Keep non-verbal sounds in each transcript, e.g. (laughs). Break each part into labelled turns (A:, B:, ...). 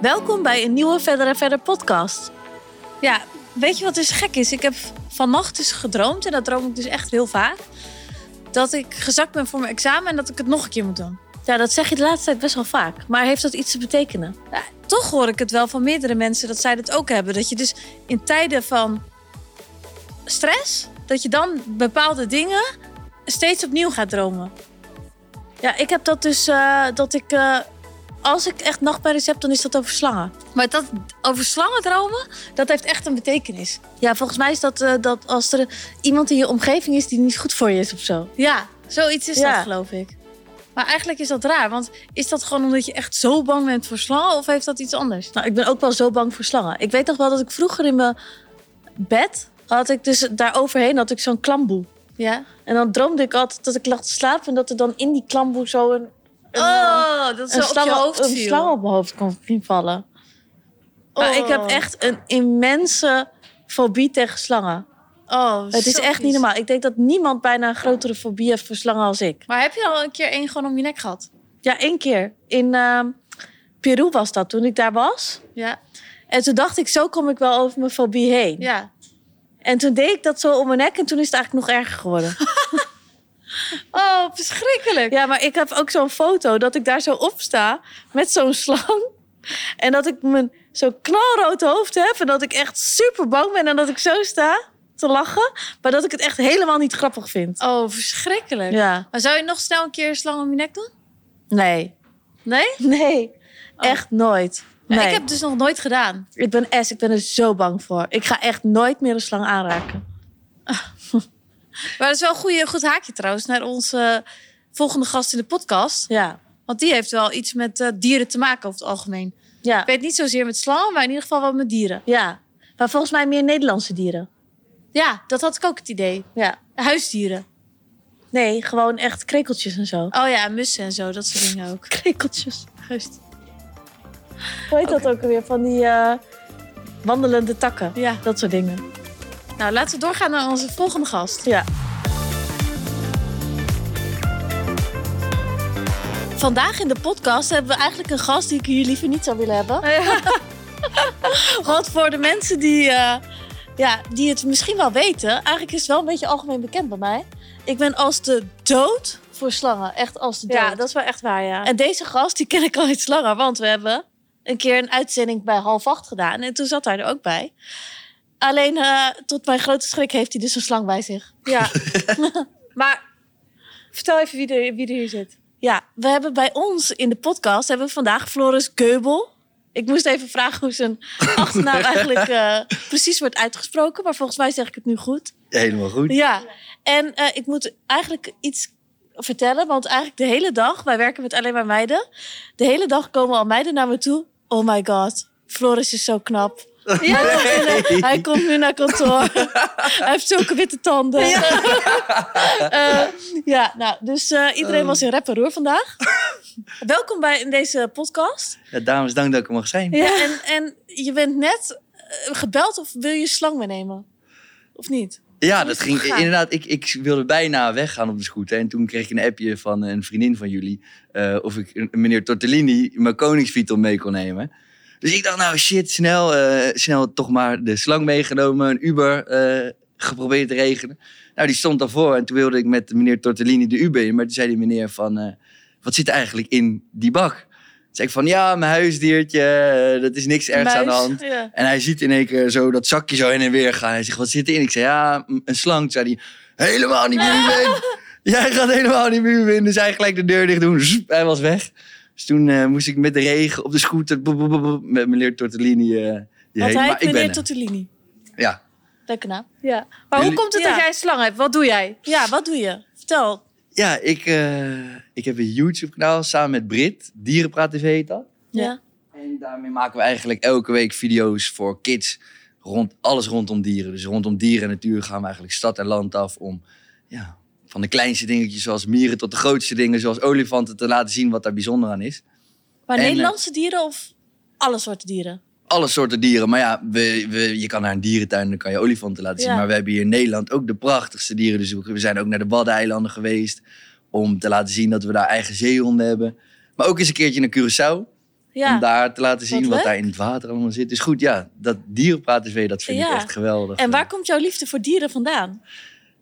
A: Welkom bij een nieuwe Verder en Verder podcast. Ja, weet je wat dus gek is? Ik heb vannacht dus gedroomd, en dat droom ik dus echt heel vaak... dat ik gezakt ben voor mijn examen en dat ik het nog een keer moet doen. Ja, dat zeg je de laatste tijd best wel vaak. Maar heeft dat iets te betekenen? Ja, toch hoor ik het wel van meerdere mensen dat zij dat ook hebben. Dat je dus in tijden van stress, dat je dan bepaalde dingen steeds opnieuw gaat dromen. Ja, ik heb dat dus eh, dat ik. eh, als ik echt nachtmerries heb, dan is dat over slangen. Maar dat over slangen dromen, dat heeft echt een betekenis. Ja, volgens mij is dat eh, dat als er iemand in je omgeving is die niet goed voor je is of zo. Ja, zoiets is
B: Ja.
A: dat, geloof ik. Maar eigenlijk is dat raar, want is dat gewoon omdat je echt zo bang bent voor slangen of heeft dat iets anders? Nou, ik ben ook wel zo bang voor slangen. Ik weet nog wel dat ik vroeger in mijn bed had ik dus daar overheen had ik zo'n klamboe.
B: Ja.
A: En dan droomde ik altijd dat ik lag te slapen en dat er dan in die klamboe zo een, een,
B: Oh, dat
A: eh, een
B: is op je hoofd
A: een
B: viel.
A: slang op mijn hoofd kon vallen. Maar ik heb
B: Oh.
A: echt een immense fobie tegen slangen.
B: Oh,
A: Het is
B: zo
A: echt
B: vies.
A: niet normaal. Ik denk dat niemand bijna een grotere fobie heeft voor slangen als ik.
B: Maar heb je al een keer één gewoon om je nek gehad?
A: Ja, één keer. In ehm, Peru was dat, toen ik daar was.
B: Ja.
A: En toen dacht ik, zo kom ik wel over mijn fobie heen.
B: Ja.
A: En toen deed ik dat zo om mijn nek en toen is het eigenlijk nog erger geworden.
B: Oh, verschrikkelijk.
A: (laughs) Ja, maar ik heb ook zo'n foto dat ik daar zo op sta met zo'n slang. En dat ik mijn zo'n knalrood hoofd heb en dat ik echt super bang ben en dat ik zo sta te lachen. Maar dat ik het echt helemaal niet grappig vind.
B: Oh, verschrikkelijk.
A: Ja,
B: Maar zou je nog snel een keer een slang om je nek doen?
A: nee. Oh.
B: Nee?
A: Nee, echt nooit.
B: Ja,
A: Nee.
B: ik heb het dus nog nooit gedaan.
A: ik ben S, ik ben er zo bang voor. Ik ga echt nooit meer een slang aanraken.
B: Maar dat is wel een goeie, goed haakje trouwens naar onze eh, volgende gast in de podcast.
A: Ja,
B: Want die heeft wel iets met eh, dieren te maken over het algemeen.
A: ja,
B: Ik weet niet zozeer met slangen, maar in ieder geval wel met dieren.
A: ja. Maar volgens mij meer Nederlandse dieren.
B: Ja, dat had ik ook het idee.
A: Ja.
B: Huisdieren.
A: Nee, gewoon echt krekeltjes en zo.
B: Oh ja, en mussen en zo, dat soort dingen ook.
A: Krekeltjes.
B: Huisdieren.
A: Hoe heet dat ook alweer? Van die eh, wandelende takken.
B: Ja.
A: Dat soort dingen.
B: Nou, laten we doorgaan naar onze volgende gast.
A: Ja.
B: Vandaag in de podcast hebben we eigenlijk een gast die ik hier liever niet zou willen hebben.
A: (laughs) Want voor de mensen die, eh, ja, die het misschien wel weten, eigenlijk is het wel een beetje algemeen bekend bij mij. Ik ben als de dood voor slangen. Echt als de dood.
B: Ja, dat is wel echt waar, ja.
A: En deze gast, die ken ik al iets langer, want we hebben een keer een uitzending bij half acht gedaan. En toen zat hij er ook bij. Alleen eh, tot mijn grote schrik heeft hij dus een slang bij zich. (laughs)
B: ja. maar vertel even wie er, wie er hier zit.
A: Ja, we hebben bij ons in de podcast hebben we vandaag Floris Geubel. Ik moest even vragen hoe
C: (laughs)
A: zijn achternaam eigenlijk eh, precies wordt uitgesproken. Maar volgens mij zeg ik het nu goed.
C: Helemaal goed.
A: Ja, en eh, ik moet eigenlijk iets vertellen. Want eigenlijk de hele dag, wij werken met alleen maar meiden. De hele dag komen al meiden naar me toe. Oh my god, Floris is zo knap.
C: Nee.
A: Hij komt nu naar (laughs) kantoor. Hij heeft zulke witte tanden. (laughs) Ja, ja nou, dus eh, iedereen was in rep en roer vandaag. (laughs) Welkom bij in deze podcast.
C: Ja, dames, dank dat ik er mag zijn.
A: Ja. En, en je bent net eh, gebeld of wil je slang meenemen? Of niet?
C: Ja, dat ging
B: Gaan.
C: inderdaad. Ik, ik wilde bijna weggaan op de scooter. En toen kreeg ik een appje van een vriendin van jullie. eh, of ik een- meneer Tortellini mijn koningsvietel mee kon nemen. Dus ik dacht, nou shit, snel, eh, snel toch maar de slang meegenomen. Een Uber eh, geprobeerd te regelen. Nou, die stond daarvoor. En toen wilde ik met meneer Tortellini de Uber in. Maar toen zei die meneer van, eh, wat zit er eigenlijk in die bak? Toen zei ik van, ja, mijn huisdiertje. eh, Dat is niks ergs aan de
A: Muis.
C: hand.
A: Ja.
C: En hij ziet in één keer zo dat zakje zo heen en weer gaan. Hij zegt, wat zit erin? Ik zei, ja, m- een slang. Toen zei hij, helemaal niet in. Jij gaat helemaal niet in. Dus hij gelijk de deur dicht doen. Zoep, hij was weg. Dus toen eh, moest ik met de regen op de scooter... boep, boep, boep, boep, met meneer Tortellini eh,
A: Want hij
C: hierheen. Maar
A: heeft
C: ik ben
A: meneer
C: er.
A: Tortellini.
C: Ja.
A: Leuke naam.
B: Ja. Maar hoe
C: Jullie-
B: komt het
A: Ja.
B: dat jij een slang hebt? Wat doe jij?
A: Ja, wat doe je? Vertel.
C: ja, ik, eh, ik heb een YouTube-kanaal samen met Brit. Dierenpraat TV heet dat.
A: Ja.
C: En daarmee maken we eigenlijk elke week video's voor kids. Rond, alles rondom dieren. Dus rondom dieren en natuur gaan we eigenlijk stad en land af om ja, van de kleinste dingetjes zoals mieren tot de grootste dingen zoals olifanten te laten zien wat daar bijzonder aan is.
A: Maar
C: En, eh,
A: Nederlandse dieren of alle soorten dieren?
C: Alle soorten dieren. Maar ja, we, we, je kan naar een dierentuin en dan kan je olifanten laten zien.
A: Ja.
C: Maar we hebben hier in Nederland ook de prachtigste dieren. Dus we zijn ook naar de Waddeneilanden geweest om te laten zien dat we daar eigen zeehonden hebben. Maar ook eens een keertje naar Curaçao.
A: Ja.
C: Om daar te laten zien
A: Wat
C: wat,
A: leuk.
C: daar in het water allemaal zit. Dus goed, ja, dat dierenpraat is weer, dat vind
A: Ja.
C: ik echt geweldig.
A: En waar komt jouw liefde voor dieren vandaan?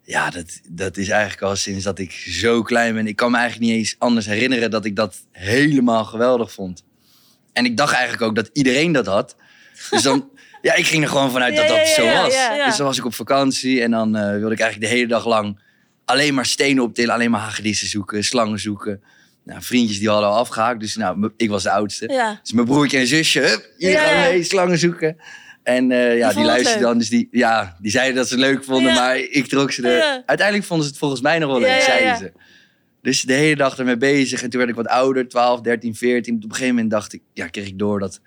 C: Ja, dat, dat is eigenlijk al sinds dat ik zo klein ben. Ik kan me eigenlijk niet eens anders herinneren dat ik dat helemaal geweldig vond. En ik dacht eigenlijk ook dat iedereen dat had. Dus
A: (laughs)
C: dan, ja, ik ging er gewoon vanuit dat
A: Ja, ja, ja,
C: dat zo
A: ja,
C: was.
A: ja, ja.
C: Dus dan was ik op vakantie en dan eh, wilde ik eigenlijk de hele dag lang alleen maar stenen optillen, alleen maar hagedissen zoeken, slangen zoeken. Nou, vriendjes die hadden al afgehaakt, dus nou, m- ik was de oudste.
A: Ja.
C: Dus mijn broertje en zusje, hup, jullie
A: Ja.
C: gaan mee slangen zoeken. En eh, ja, die,
A: vonden het
C: luisterden
A: leuk.
C: dan. Dus die, ja, die zeiden dat ze het leuk vonden,
A: Ja.
C: maar ik trok ze er.
A: Ja.
C: Uiteindelijk vonden ze het volgens mij nog wel leuk,
A: Ja, ja,
C: zeiden
A: ja.
C: ze. Dus de hele dag ermee bezig. En toen werd ik wat ouder, 12, 13, 14. Op een gegeven moment dacht ik, ja, kreeg ik door dat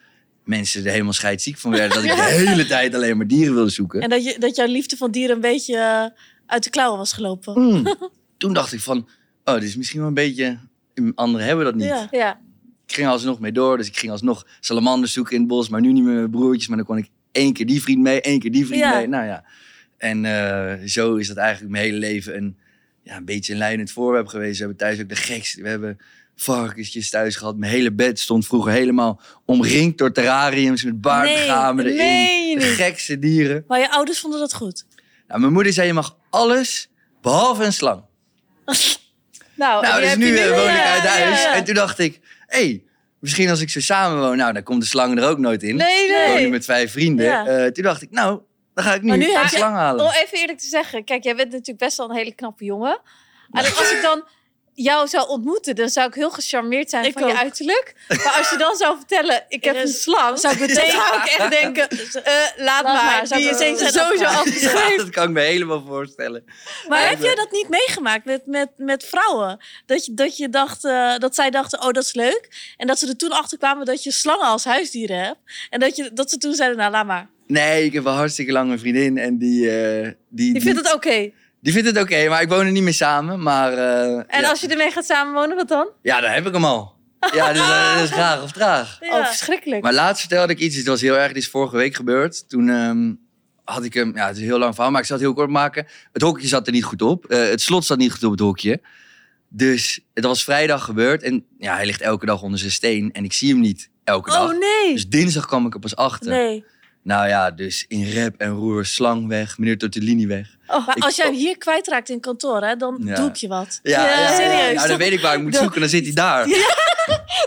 C: mensen er helemaal scheidziek van werden. Dat ik de hele tijd alleen maar dieren wilde zoeken.
A: En dat, je, dat jouw liefde van dieren een beetje eh, uit de klauwen was gelopen.
C: Mm. Toen dacht ik van, oh, dit is misschien wel een beetje... Anderen hebben dat niet.
A: Ja.
B: Ja.
C: ik ging alsnog mee door. Dus ik ging alsnog salamanders zoeken in het bos. Maar nu niet meer met mijn broertjes. Maar dan kon ik één keer die vriend mee, één keer die vriend
A: Ja.
C: mee. Nou ja. En eh, zo is dat eigenlijk mijn hele leven een, ja, een beetje een leidend voorwerp geweest. We hebben thuis ook de gekste. We hebben varkensjes thuis gehad. Mijn hele bed stond vroeger helemaal omringd door terrariums met baardgamen
A: Nee,
C: erin.
A: meen je
C: de
A: niet.
C: gekste dieren.
A: Maar je ouders vonden dat goed.
C: Nou, mijn moeder zei, je mag alles behalve een slang.
B: Nou, en die
C: Nou, dus
B: heb
C: nu
B: je
C: eh, woon ik uit
A: ja,
C: huis.
A: ja.
C: En toen dacht ik, hé, hey, misschien als ik zo samen woon, nou, dan komt de slang er ook nooit in.
B: Nee,
C: Ik woon
B: nee.
C: nu met vijf vrienden.
A: Ja.
C: Eh, toen dacht ik, nou, dan ga ik nu,
A: Maar nu
C: een
A: heb je-
C: slang halen.
B: Om even eerlijk te zeggen, kijk, jij bent natuurlijk best wel een hele knappe jongen. Alleen als ik dan jou zou ontmoeten, dan zou ik heel gecharmeerd zijn
A: Ik
B: van
A: ook.
B: je uiterlijk. Maar als je dan zou vertellen, ik heb
A: Er
B: een
A: is-
B: slang,
A: eh, zou ik meteen-
B: dan zou ik echt denken, (laughs) eh, laat,
A: maar,
B: maar,
A: zou
B: die
A: ik
B: is
A: wel-
B: eens sowieso
A: Ja.
B: afgeschreven.
C: (laughs) Ja, dat kan ik me helemaal voorstellen.
A: Maar
C: Ja,
A: heb
C: ik
A: jij
C: ben-
A: dat niet meegemaakt met, met, met vrouwen? Dat, je, dat, je dacht, eh, dat zij dachten, oh, dat is leuk. En dat ze er toen achter kwamen dat je slangen als huisdieren hebt. En dat, je, dat ze toen zeiden, nou, laat maar.
C: Nee, ik heb een hartstikke lange vriendin en die, eh, die,
B: Die vindt het oké.
C: die vindt het oké, maar ik woon er niet meer samen. Maar eh,
B: En
C: ja.
B: als je ermee gaat samenwonen, wat dan?
C: ja, dan heb ik hem al. Ja, dus eh, dat is graag of traag.
A: Ja.
B: Oh, verschrikkelijk.
C: Maar laatst vertelde ik iets, het was heel erg, dit is vorige week gebeurd. Toen ehm, had ik hem, ja, het is een heel lang verhaal, maar ik zal het heel kort maken. Het hokje zat er niet goed op, Eh, het slot zat niet goed op het hokje. Dus het was vrijdag gebeurd en ja, hij ligt elke dag onder zijn steen en ik zie hem niet elke dag.
A: oh, nee.
C: Dus dinsdag kwam ik er pas achter.
A: Nee.
C: Nou ja, dus in rep en roer, slang weg, meneer Tortellini weg.
A: Oh, maar
C: Ik-
A: als jij hem hier kwijtraakt in kantoor, hè, dan
C: Ja.
A: doe ik je wat.
C: Ja, ja, ja,
A: serieus.
C: Nou, dan weet ik waar ik moet
A: Dat-
C: zoeken, dan zit hij daar.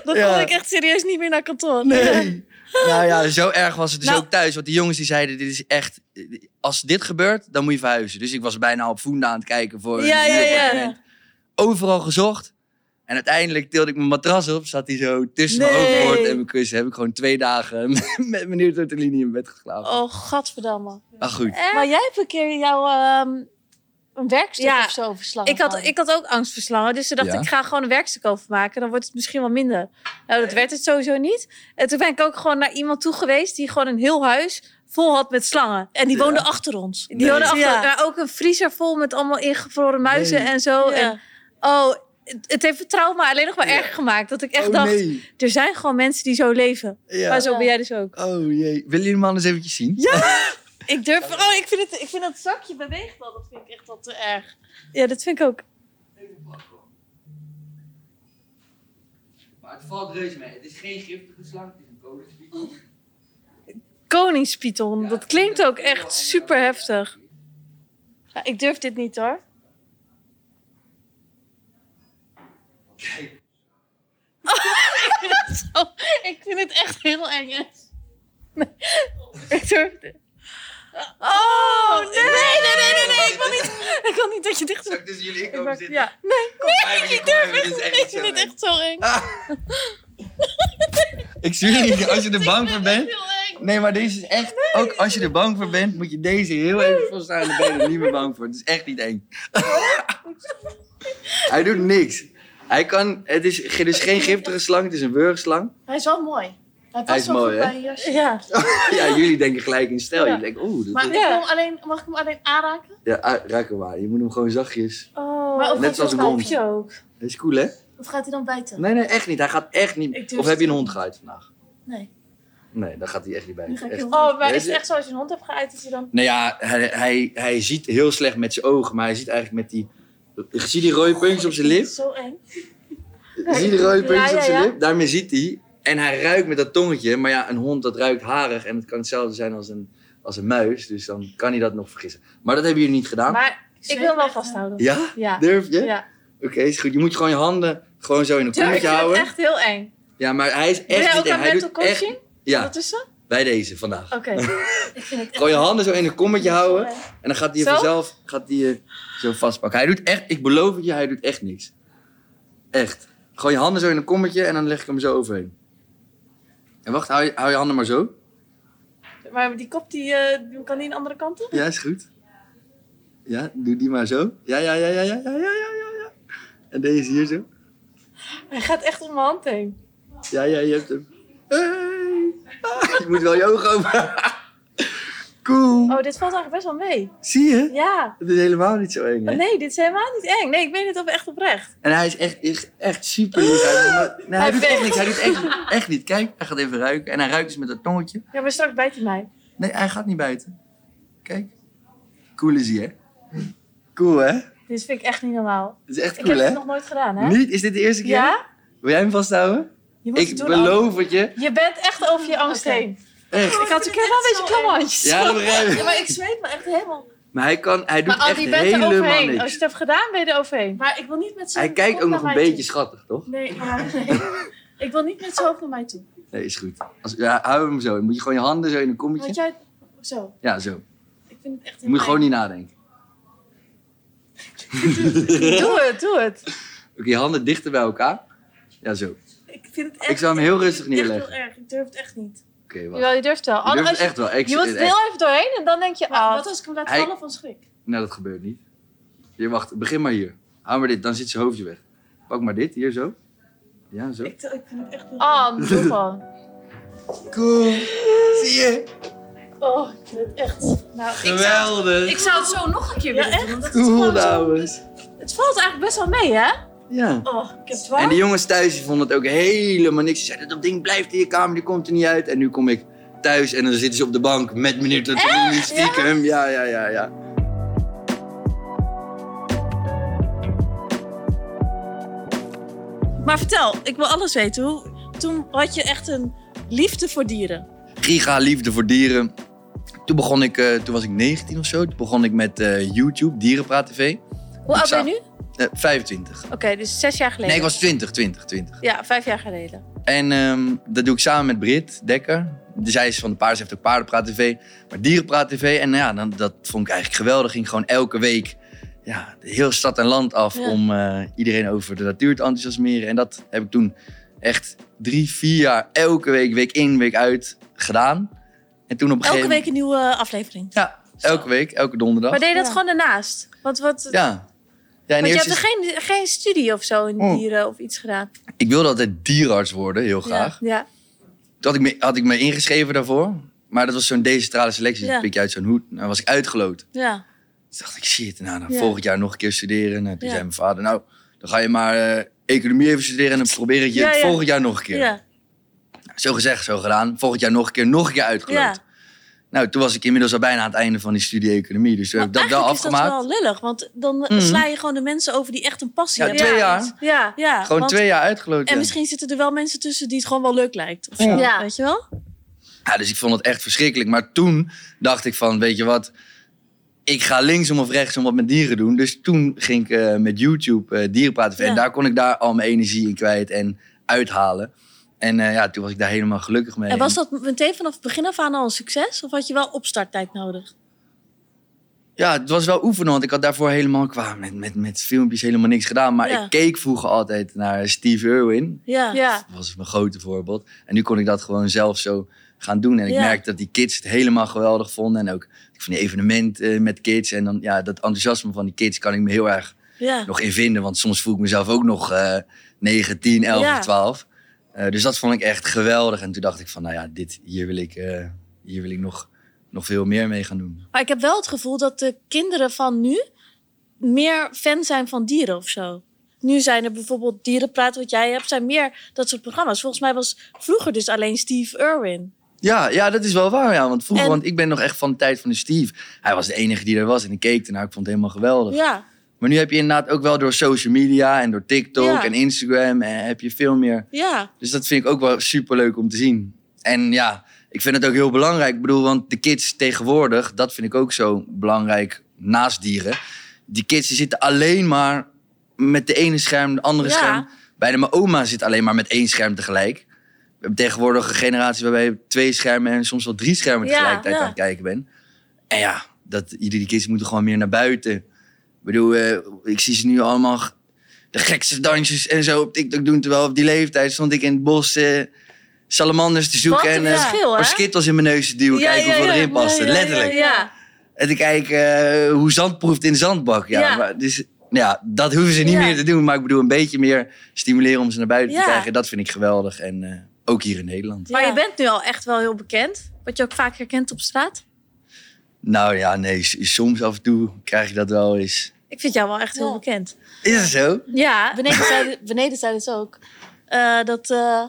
A: Dan
C: Ja.
A: kom ik echt serieus niet meer naar kantoor.
C: Nee. Nou ja, zo erg was het dus
A: Nou-
C: ook thuis. Want die jongens die zeiden, dit is echt... Als dit gebeurt, dan moet je verhuizen. Dus ik was bijna op voende aan het kijken voor een
A: Ja, ja,
C: nieuw
A: ja.
C: appartement. Overal gezocht. En uiteindelijk tilde ik mijn matras op. Zat hij zo tussen mijn
A: Nee.
C: overhoord en mijn kussen. Heb ik gewoon twee dagen (laughs) met meneer Tortellini in bed geslapen.
A: Oh, gadverdamme.
C: Maar goed.
B: Eh?
A: Maar jij hebt een keer jouw ehm, een werkstuk
B: Ja,
A: of zo verslagen.
B: Ik had, ik had ook angst voor slangen, dus toen dacht
C: Ja.
B: ik, ik ga gewoon een werkstuk over maken. Dan wordt het misschien wel minder. Nou, dat werd het sowieso niet. En toen ben ik ook gewoon naar iemand toe geweest die gewoon een heel huis vol had met slangen.
A: En die
C: Ja.
A: woonde achter ons.
B: Die
C: Nee.
B: hadden achter,
A: Ja.
B: maar ook een vriezer vol met allemaal ingevroren muizen
C: Nee.
B: en zo.
A: Ja.
B: En, oh, het, het heeft het trauma alleen nog maar erger gemaakt. Dat ik echt
C: oh,
B: dacht,
C: nee.
B: er zijn gewoon mensen die zo leven.
C: Ja.
B: Maar zo
A: Ja.
B: ben jij dus ook.
C: Oh jee. Willen jullie hem anders eventjes zien?
A: Ik durf. Oh, ik vind, het, ik vind dat zakje beweegt al. Dat vind ik echt al te erg.
B: Ja, dat vind ik ook.
C: Maar het valt reuze mee. Het is geen giftige slang. Het is een kolenspiegel.
B: Koningspython,
C: Ja,
B: dat klinkt ook echt super heftig.
A: Ja, ik durf dit
B: (laughs)
A: niet hoor. Oh, ik vind het echt heel eng.
B: (laughs) Ik durf het.
A: Oh, nee, nee, nee, nee, nee, Ik wil
C: (laughs)
A: niet, ik wil niet dat je dicht
C: Zal ik tussen dus jullie inkomen
B: Maar-
C: zitten?
B: Ja.
C: Nee, ik durf echt niet.
A: Ik vind het echt zo eng.
C: Ik zweer
A: (laughs)
C: je, als je er bang voor bent...
A: Heel eng.
C: Nee, maar deze is echt... Ook als je er bang voor bent, moet je deze heel even volstaan. Dan ben je er niet meer bang voor. Het is echt niet
A: (laughs)
C: eng. Hij doet niks. Hij kan... Het is, ge- dus geen giftige slang, het is een wurgslang.
A: Hij is wel mooi. Hij past
C: Hij is
A: wel
C: mooi,
A: goed
C: hè?
A: bij je jasje.
B: Ja.
C: Ja, jullie denken gelijk in stijl.
A: Ja.
C: Je denkt, oeh... dat
A: Maar
C: is-
A: ik wil
B: Ja.
A: hem alleen, mag ik hem alleen aanraken?
C: Ja, ah, raak hem maar. Je moet hem gewoon zachtjes...
B: Oh,
A: Maar ook
C: Net zoals een hond.
B: je ook.
C: Dat is cool, hè?
A: Of gaat hij dan bijten?
C: Nee, nee, echt niet. Hij gaat echt
A: Ik
C: niet...
A: durf
C: Of heb je een hond geuit vandaag?
A: Nee.
C: Nee, daar gaat hij echt niet bij.
A: Nu ga ik
C: Echt
A: heel
B: Oh, maar is
C: Deze-
B: het echt zo als je een hond hebt geuit, dat je dan...
C: Nou ja, hij, hij, hij ziet heel slecht met zijn ogen, maar hij ziet eigenlijk met die. Zie je die rode puntjes op zijn lip?
A: Zo eng.
C: Zie je die rode puntjes
B: Ja, ja,
C: op zijn
B: ja.
C: lip? Daarmee ziet hij En hij ruikt met dat tongetje. Maar ja, een hond dat ruikt harig. En het kan hetzelfde zijn als een, als een muis. Dus dan kan hij dat nog vergissen. Maar dat hebben jullie niet gedaan.
B: Maar ik wil hem wel vasthouden.
C: Ja?
B: Ja.
C: Durf je?
B: Ja.
C: Oké, is goed. Je moet gewoon je handen gewoon zo in een
B: Ja, ik
C: kommetje
B: vind het
C: houden.
B: echt heel eng.
C: Ja, maar hij is
B: Wil
C: echt
B: jij
C: niet
B: ook
C: eng.
B: aan
C: Hij
B: mental
C: doet echt...
B: coaching?
C: Ja,
B: Dat is ze?
C: bij deze vandaag.
B: Oké. (laughs)
A: Ik vind het echt
C: Gewoon je handen zo in een kommetje houden. En dan gaat hij je
B: Zo?
C: vanzelf gaat hij je zo vastpakken. Hij doet echt, ik beloof het je, hij doet echt niks. Echt. Gewoon je handen zo in een kommetje en dan leg ik hem zo overheen. En wacht, hou je, hou je handen maar zo.
B: Maar die kop, die, eh, kan die een andere kant op?
C: Ja, is goed. Ja, doe die maar zo. Ja, ja, ja, ja, ja, ja, ja, ja, ja. En deze hier zo.
B: Hij gaat echt om mijn hand heen.
C: Ja, ja, je hebt hem. Hey. Ah, je moet wel je ogen open. (laughs) Cool.
B: Oh, dit valt eigenlijk best wel mee.
C: Zie je?
B: Ja.
C: Het is helemaal niet zo eng, hè?
A: Oh,
B: Nee, dit is helemaal niet eng. Nee, ik meen het op echt oprecht.
C: En hij is echt, echt, echt super lief. Hij, doet nooit- nee, hij
B: Hij
C: doet echt
B: veegt.
C: niks. Hij doet echt, echt niet. Kijk, hij gaat even ruiken. En hij ruikt dus met dat tongetje.
B: Ja, maar straks bijt hij mij.
C: Nee, hij gaat niet buiten. Kijk. Cool is hij, hè? Cool, hè?
B: Dit vind ik echt niet normaal.
C: Dat is echt
B: Ik
C: cool,
B: heb
C: hè?
B: het nog nooit gedaan, hè?
C: Niet? Is dit de eerste keer?
B: Ja?
C: Wil jij hem vasthouden?
B: Je moet
C: Ik
B: het doen. Anne.
C: beloof het je.
B: Je bent echt over je angst
A: Oké.
B: heen.
C: Echt.
B: Ik had een keer wel een beetje klamme handjes.
C: Ja, dat begrijp ik.
B: Ja, maar ik zweet me echt helemaal.
C: Maar hij, kan, hij doet
A: Maar Andy,
C: echt
A: je bent er
C: helemaal
B: Overheen. Oh, Als je
C: niks.
B: het hebt gedaan, ben je er overheen.
A: Maar ik wil niet met zo'n
C: Hij kijkt
A: kop
C: ook
A: naar
C: nog een
A: mij
C: beetje
A: toe.
C: schattig, toch?
A: Nee, maar (laughs) nee. ik wil niet met zo'n hoofd naar mij toe.
C: Nee, is goed. Als, ja, hou hem zo. Dan moet je gewoon je handen zo in een
A: Want
C: kommetje.
A: jij... Zo,
C: Ja, zo.
A: ik vind het echt
C: Je moet
A: heel
C: gewoon niet nadenken.
B: Doe het, doe het.
C: Oké, je handen dichter bij elkaar. Ja, zo.
A: eng. Ik vind het echt...
C: Ik zou hem heel rustig
A: echt
C: neerleggen.
A: heel erg. Ik durf het echt niet.
C: Oké, wacht.
B: Jawel, je durft wel.
C: Je
B: Anne,
C: durft
B: als
C: het
B: je,
C: echt wel.
B: je
C: Ik zit
B: moet
C: het
B: het
C: echt.
B: heel even doorheen en dan denk je,
A: Maar
B: ah,
A: wat als ik hem laat
C: Hij-
A: vallen van schrik?
C: Nou, dat gebeurt niet. Je wacht, begin maar hier. Hou maar dit, dan zit zijn hoofdje weg. Pak maar dit, hier zo. Ja, zo.
A: Ik, ik vind het echt heel
B: Anne, doe gewoon.
C: Cool. Zie je?
A: Oh, ik vind het echt... Nou, ik zou,
C: Geweldig.
A: (laughs) ik zou het zo nog een keer willen
B: Ja,
A: doen. want dat is
C: Cool,
A: gewoon zo-
C: dames.
B: Het valt eigenlijk best wel mee, hè?
C: Ja.
A: Oh, ik heb het
C: En
A: warm.
C: die jongens thuis die vonden het ook helemaal niks. Ze zeiden, dat ding blijft in je kamer, die komt er niet uit. En nu kom ik thuis en dan zitten ze op de bank met meneer Tortellini stiekem. Ja, ja, ja, ja.
A: Maar vertel, ik wil alles weten. Hoe, toen had je echt een liefde voor dieren.
C: Giga liefde voor dieren. Toen begon ik, eh, toen was ik 19 of zo. Toen begon ik met eh, YouTube, Dierenpraat TV.
B: Hoe
C: Ik
B: oud ben
C: zou-
B: je nu? Oké,
C: Eh, 25.
B: dus zes jaar geleden.
C: Nee, ik was 20, 20, 20.
B: Ja, vijf jaar geleden.
C: En ehm, dat doe ik samen met Brit Dekker. Zij is van de paarden, ze heeft ook Paardenpraat TV, maar Dierenpraat TV. En nou ja, dan, dat vond ik eigenlijk geweldig. Ging gewoon elke week ja, de heel stad en land af
A: Ja.
C: om eh, iedereen over de natuur te enthousiasmeren. En dat heb ik toen echt drie, vier jaar elke week, week in, week uit gedaan. En toen op een
A: Elke
C: gegeven
A: week een nieuwe aflevering.
C: Ja, elke week, elke donderdag.
B: Maar deed je dat
A: Ja.
B: gewoon daarnaast? Want, wat,
C: Ja. ja en
B: want je
C: eerst
B: hebt er geen, geen studie of zo in
C: Oh.
B: dieren of iets gedaan.
C: Ik wilde altijd dierenarts worden, heel graag.
B: Ja.
C: Toen had ik, me, had ik me ingeschreven daarvoor. Maar dat was zo'n decentrale selectie. Dus
A: Ja.
C: pik je uit zo'n hoed. Nou was ik uitgeloot.
A: Ja.
C: Toen dacht ik, shit, nou, dan
A: Ja.
C: volgend jaar nog een keer studeren. Nou, toen
A: Ja.
C: zei mijn vader, nou, dan ga je maar eh, economie even studeren... en dan probeer ik je
A: Ja,
C: het
A: ja.
C: volgend jaar nog een keer.
A: Ja.
C: Nou, zo gezegd, zo gedaan. Volgend jaar nog een keer, nog een keer uitgeloot.
A: Ja.
C: Nou, toen was ik inmiddels al bijna aan het einde van die studie economie. Dus toen heb ik dat wel
A: Eigenlijk is
C: afgemaakt.
A: dat wel lullig, want dan
C: Mhm.
A: sla je gewoon de mensen over die echt een passie
C: Ja,
A: hebben.
C: twee jaar.
B: Ja.
A: Ja,
C: Gewoon
A: want-
C: twee jaar uitgeloot.
A: En
C: ja.
A: misschien zitten er wel mensen tussen die het gewoon wel leuk lijkt. Of zo,
C: Ja.
B: Ja.
A: Weet je wel?
C: Ja, dus ik vond het echt verschrikkelijk. Maar toen dacht ik van, weet je wat... Ik ga linksom of rechtsom wat met dieren doen. Dus toen ging ik eh, met YouTube eh dieren praten. En
A: Ja.
C: daar kon ik daar al mijn energie in kwijt en uithalen. En eh, ja, toen was ik daar helemaal gelukkig mee.
A: En was dat meteen vanaf het begin af aan al een succes? Of had je wel opstarttijd nodig?
C: Ja, het was wel oefenen, want ik had daarvoor helemaal qua met, met, met filmpjes helemaal niks gedaan. Maar
A: Ja.
C: ik keek vroeger altijd naar Steve Irwin.
A: Ja.
B: Ja.
C: Dat was mijn grote voorbeeld. En nu kon ik dat gewoon zelf zo gaan doen. En ik
A: Ja.
C: merkte dat die kids het helemaal geweldig vonden. En ook van die evenementen met kids. En dan ja, dat enthousiasme van die kids kan ik me heel erg
A: ja.
C: nog in vinden. Want soms voel ik mezelf ook nog eh 9, 10, 11
A: Ja.
C: of 12. Eh, dus dat vond ik echt geweldig. En toen dacht ik van, nou ja, dit, hier wil ik, eh, hier wil ik nog, nog veel meer mee gaan doen.
A: Maar ik heb wel het gevoel dat de kinderen van nu meer fan zijn van dieren of zo. Nu zijn er bijvoorbeeld dierenpraat, wat jij hebt, zijn meer dat soort programma's. Volgens mij was vroeger dus alleen Steve Irwin.
C: Ja, ja, dat is wel waar. Ja, want vroeger,
A: En-
C: want ik ben nog echt van de tijd van de Steve. Hij was de enige die er was. En ik keek ernaar, ik vond het helemaal geweldig.
A: Ja,
C: Maar nu heb je inderdaad ook wel door social media en door TikTok
B: Ja.
C: en Instagram en heb je veel meer.
B: Ja,
C: Dus dat vind ik ook wel superleuk om te zien. En ja, ik vind het ook heel belangrijk. Ik bedoel, want de kids tegenwoordig, dat vind ik ook zo belangrijk naast dieren. Die kids die zitten alleen maar met de ene scherm, de andere
B: Ja.
C: scherm. Bijna mijn oma zit alleen maar met één scherm tegelijk. We hebben tegenwoordig een generatie waarbij je twee schermen en soms wel drie schermen
B: Ja,
C: tegelijkertijd
B: ja.
C: aan het kijken bent. En ja, dat, die kids moeten gewoon meer naar buiten. Ik bedoel, eh, ik zie ze nu allemaal g- de gekste dansjes en zo op TikTok doen. Terwijl op die leeftijd stond ik in het bos eh, salamanders te zoeken.
B: Wat een
C: en eh,
B: verschil, hè?
C: paar skittels in mijn neus te duwen. kijken hoeveel erin paste.
B: Ja, ja, ja,
C: Letterlijk.
B: Ja,
C: En te kijken eh, hoe zand proeft in de zandbak. Ja,
B: Ja.
C: Maar, dus ja, dat hoeven ze niet
B: Ja.
C: meer te doen. Maar ik bedoel, een beetje meer stimuleren om ze naar buiten
B: Ja.
C: te krijgen. Dat vind ik geweldig. En eh, ook hier in Nederland.
B: Maar
A: Ja.
B: je bent nu al echt wel heel bekend. Word je ook vaak herkend op straat?
C: Nou ja, nee, s- soms af en toe krijg je dat wel eens.
B: Ik vind jou wel echt heel
A: Ja.
B: bekend.
C: Is dat zo?
B: Ja,
A: Beneden zeiden, (laughs) beneden zeiden ze ook eh, dat, eh,